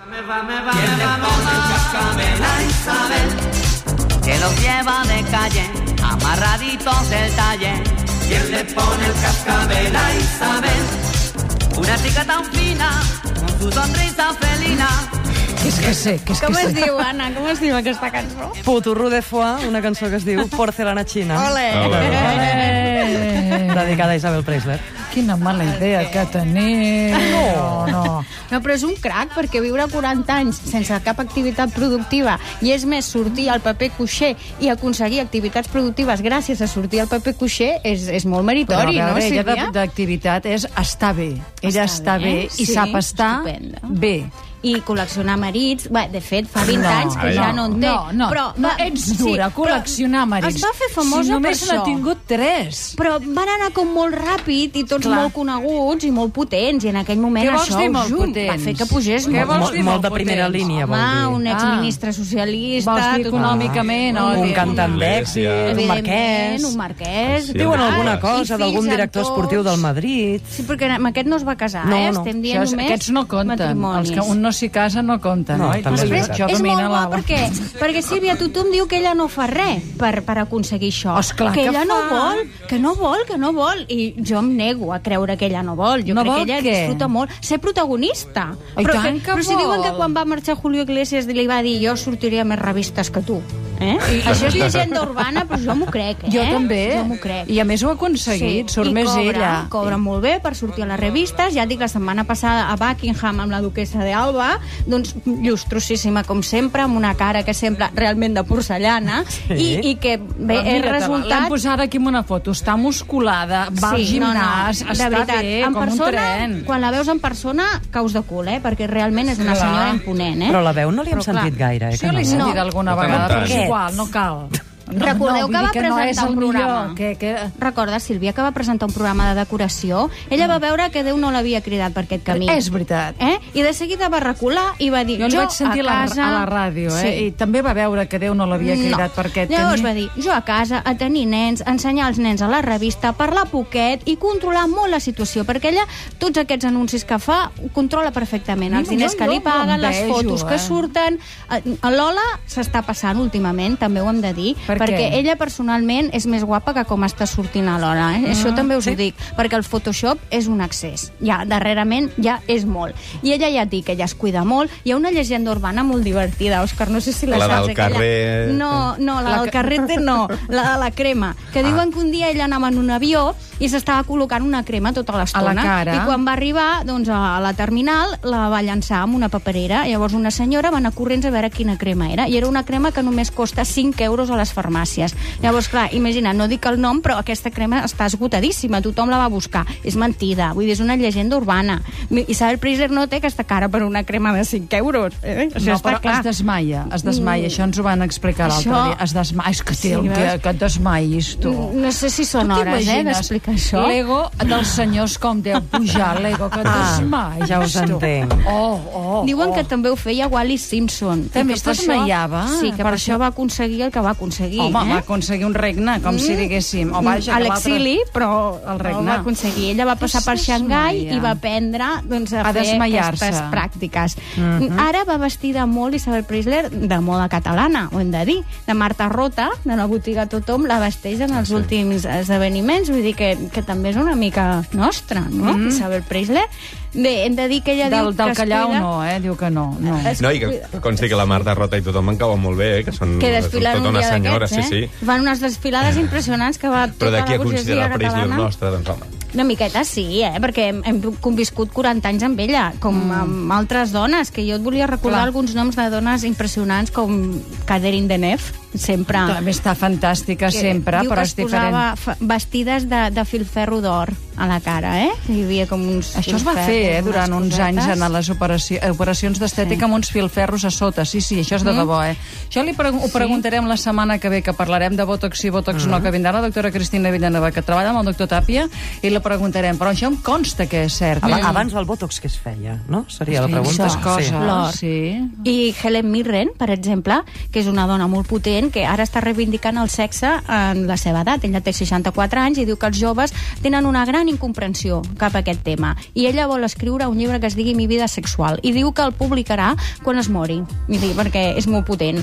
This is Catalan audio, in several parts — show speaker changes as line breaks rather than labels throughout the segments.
me va, me va, me va, me va. Ay, Isabel, que los lleva de calle, amarraditos del taller.
¿Quién le pone el cascabel a Isabel?
Una chica tan fina, con su sonrisa felina.
Què és que sé? Què és
Com
que
es
sé?
diu, Anna? Com es diu aquesta cançó?
Puturro de Foie, una cançó que es diu Porcelana Xina,
Ole!
Eh,
dedicada a Isabel Preisler.
quina mala idea que teniu. No, no.
No, però és un crac, perquè viure 40 anys sense cap activitat productiva i és més sortir al paper coixer i aconseguir activitats productives gràcies a sortir al paper coixer és, és molt meritori,
Però, a
no,
veure, ella
Sílvia?
de- d'activitat és estar bé. Ella està, bé, i
sí,
sap estar
estupenda.
bé.
i col·leccionar marits. Bé, de fet, fa 20
No,
anys que ja no en té.
No, no,
però,
no
va,
ets dura,
però
col·leccionar marits.
Es va fer famosa
si només
per
n'ha
això.
tingut tres.
Però van anar com molt ràpid i tots
Clar.
Clar. molt coneguts i molt potents, i en aquell moment
Què vols
això
dir molt
zoom, va
potents?
fer que pugés
Què
molt,
vols
Molt,
dir,
molt de
molt
primera
potents?
línia, vol
Home,
dir.
un exministre socialista...
Vols dir
tothom-
econòmicament,
Ah,
oi?
un cantant d'èxit,
Iglesias.
un
Evidentment,
marquès...
un marquès.
Sí,
Diuen
sí.
alguna
I
cosa d'algun
fills amb
director
tots.
esportiu del Madrid...
Sí, perquè amb aquest no es va casar,
No,
eh?
no.
Estem dient
Això és,
només
aquests no compten. Els
matrimonis.
que un no s'hi casa no compten.
No,
oi?
també és
Després,
Això
veritat.
és
domina
molt bo
la-
perquè, perquè Sílvia, tothom diu que ella no fa res per, per aconseguir això.
Esclar
que
que
ella
fa.
no vol, que no vol, que no vol. I jo em nego a creure que ella no vol. Jo
No
crec
vol
que ella
què?
disfruta molt. Ser protagonista.
Ai,
però
tant que
però si
vol.
diuen que quan va marxar Julio Iglesias li va dir jo sortiria a més revistes que tu. Eh? Això és llegenda urbana, però jo m'ho crec. Eh?
Jo també.
Jo m'ho crec.
I a més ho ha aconseguit, surt
i
més
cobra,
ella.
Cobra molt bé per sortir a les revistes. Ja et dic, la setmana passada a Buckingham amb la duquesa d'Alba, doncs llustrosíssima com sempre, amb una cara que sembla realment de porcellana, sí. i, i que bé,
Però
és
mira-te-la, L'han
resultat...
posat aquí en una foto. Està musculada, va al gimnàs,
de
està
veritat,
bé,
en
com
persona,
un tren.
Quan la veus en persona, caus de cul, eh? Perquè realment és una
Clar.
senyora imponent, eh?
Però la veu no li hem
Però, clar,
sentit gaire, eh?
Sí, l'he
no?
sentit alguna
De tant en
vegada, però
tant.
és igual, no cal. No,
Recordeu
vull
que
dir
va
no és
presentar
el
un programa.
Millor, que, que...
Recorda, Sílvia, que va presentar un programa de decoració. Ella va veure que Déu no l'havia cridat per aquest camí.
Mm. És veritat.
Eh? I de seguida va recular i va dir...
Jo el vaig sentir a
a
la,
casa...
a la ràdio, eh?
Sí.
I també va veure que Déu no l'havia cridat per aquest
Llavors
camí.
va dir, jo a casa, a tenir nens, a ensenyar els nens a la revista, parlar poquet i controlar molt la situació, perquè ella tots aquests anuncis que fa controla perfectament. Els
Jo-
diners que
jo
li
no
paguen,
em
les
vejo,
fotos que
eh?
surten... Eh, Lola s'està passant últimament, també ho hem de dir,
Per què?
perquè ella personalment és més guapa que com està sortint a l'hora. Eh?
Ah,
Això també us ho dic, perquè el Photoshop és un accés. Ja, darrerament ja és molt. I ella ja et dic que ella es cuida molt. Hi ha una llegenda urbana molt divertida, Òscar, no sé si la,
La
saps.
del
aquella.
carrer.
No, no, la, del carrete no, la de la crema. Que
Ah.
diuen que un dia ella anava en un avió i s'estava col·locant una crema tota
A
l'estona.
la cara.
I quan va arribar doncs, a la terminal la va llançar amb una paperera. Llavors una senyora va anar corrents a veure quina crema era. I era una crema que només costa 5 euros a les farmàcies. Llavors, clar, imagina, no dic el nom, però aquesta crema està esgotadíssima. Tothom la va buscar. És mentida. Vull dir, és una llegenda urbana. Mi- Isabel Preisler no té aquesta cara per una crema de 5 euros. Eh? Això
no,
està
però ah,
clar.
es desmaia, es desmaia. Això ens ho van explicar l'altre
Mm. Això-
dia. Es desmaia. És que, té,
Sí,
el que,
veus? Mm,
que et desmaiis, tu.
No sé si són
Tu
hores, eh,
t'imagines
d'explicar això.
L'ego dels senyors com deu pujar, l'ego que et
Ah,
desmaies.
ja us
tu.
entenc.
Oh, oh,
Diuen
oh.
que també ho feia Wally Simpson.
També
I que per
es
això-
desmaiava?
Sí, que per,
Per
això va aconseguir el que va aconseguir.
Home,
eh?
va aconseguir un regne, com si diguéssim. O vaja,
a
que l'altre-
l'exili, però
Mm, El
el
regne.
regne. va aconseguir. Ella va passar
Es
per Xangai
desmaia.
i va aprendre doncs, a,
A
fer
desmaiar-se.
aquestes pràctiques. Ara va vestida molt Isabel Preisler de moda catalana, ho hem de dir. De Marta Rota, de la botiga Tothom, la vesteix en els últims esdeveniments, vull dir que, que també és una mica nostra, no? Isabel Preisler. Bé, hem de dir que ella diu
Del,
que
del
es
Callau
cuida...
no, eh? Diu que no. no.
Es
No, i que consti que la Marta Rota i tothom en cauen molt bé, eh? que són
que desfilen
tota
un
una
dia
senyora,
d'aquests, eh?
sí, sí.
Van unes desfilades impressionants que va
Però
tota
d'aquí
la
a considerar
burgesia
el Preisler
catalana.
nostre, doncs home.
Una miqueta sí, eh? perquè hem, hem conviscut 40 anys amb ella, com mm. amb altres dones, que jo et volia
Clar.
recordar Clar. alguns noms de dones impressionants com Catherine Deneuve, sempre...
També està fantàstica
que
sempre,
diu
però
que
és
es
diferent.
posava fa- vestides de, de filferro d'or a la cara, eh? Hi havia com uns...
Això es va
filferros,
fer, eh,
unes
durant uns
cosetes.
anys en les operaci eh, operacions d'estètica amb uns filferros a sota. Sí, sí, això és de debò, eh? Això li pregu ho preguntarem la setmana que ve, que parlarem de Botox i Botox no, que vindrà la doctora Cristina Villanueva, que treballa amb el doctor Tàpia, i la preguntarem. Però això em consta que és cert. eh?
Aba- Abans del botox que es feia, no? Seria la
Aquestes
pregunta.
coses,
Sí.
L'or.
sí.
I Helen Mirren, per exemple, que és una dona molt potent que ara està reivindicant el sexe en la seva edat. Ella té 64 anys i diu que els joves tenen una gran incomprensió cap a aquest tema. I ella vol escriure un llibre que es digui Mi vida sexual i diu que el publicarà quan es mori. I dic, perquè és molt potent.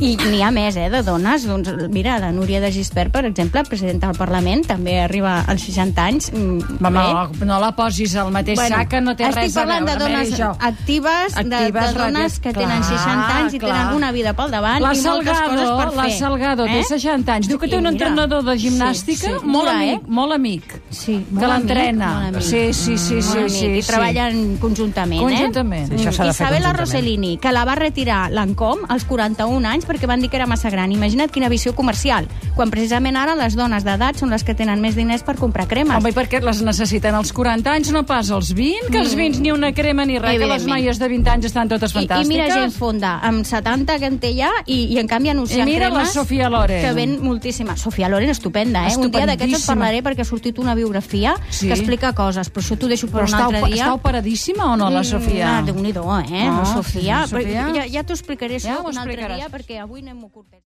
I n'hi ha més, eh, de dones. Doncs, mira, la Núria de Gispert, per exemple, presidenta del Parlament, també arriba als 60 anys. Mm,
Va,
bé.
no, no la posis al mateix bueno, sac, que no té
estic
res a
parlant
veure.
de dones
Mary Jo.
actives, de, de
Actives,
dones que tenen
clar,
60 anys i
clar.
tenen una vida pel davant
La
i moltes
Salgado,
coses per fer.
la Salgado té 60 anys. Diu que
I
té un
mira,
entrenador de gimnàstica
sí, sí,
molt
dura,
amic,
eh?
molt amic.
Sí, molt
que
amic,
l'entrena.
molt amic.
Sí, sí, sí,
Molt
sí,
amic,
sí,
I
sí.
treballen conjuntament,
Conjuntament.
eh?
Sí, això s'ha de fer
Isabel
conjuntament.
Rossellini, que la va retirar l'Ancom als 41 anys perquè van dir que era massa gran. Imagina't quina visió comercial, quan precisament ara les dones d'edat són les que tenen més diners per comprar cremes.
Home, i per què les necessiten als 40 anys, no pas als 20? Que als 20 ni una crema ni res, que les
Mm. Evidentment.
noies de 20 anys estan totes
I, I
fantàstiques.
mira gent fonda, amb 70 que en té ja, i, i en canvi anunciant
I mira la
cremes...
Sofia Loren.
Que ven moltíssima. Sofia Loren, estupenda, eh? Un dia d'aquests et
Estupendíssima.
parlaré perquè ha sortit una biografia
Sí.
que explica coses, però això t'ho deixo per
Però
un
està,
altre dia. Mm,
està operadíssima o no, la Sofia?
Ah, Déu-n'hi-do, eh?
Ah,
la Sofia.
sí, Sofia.
Però Ja, ja t'ho explicaré això
Ja ho
un altre
explicaràs.
dia perquè avui anem molt curtets.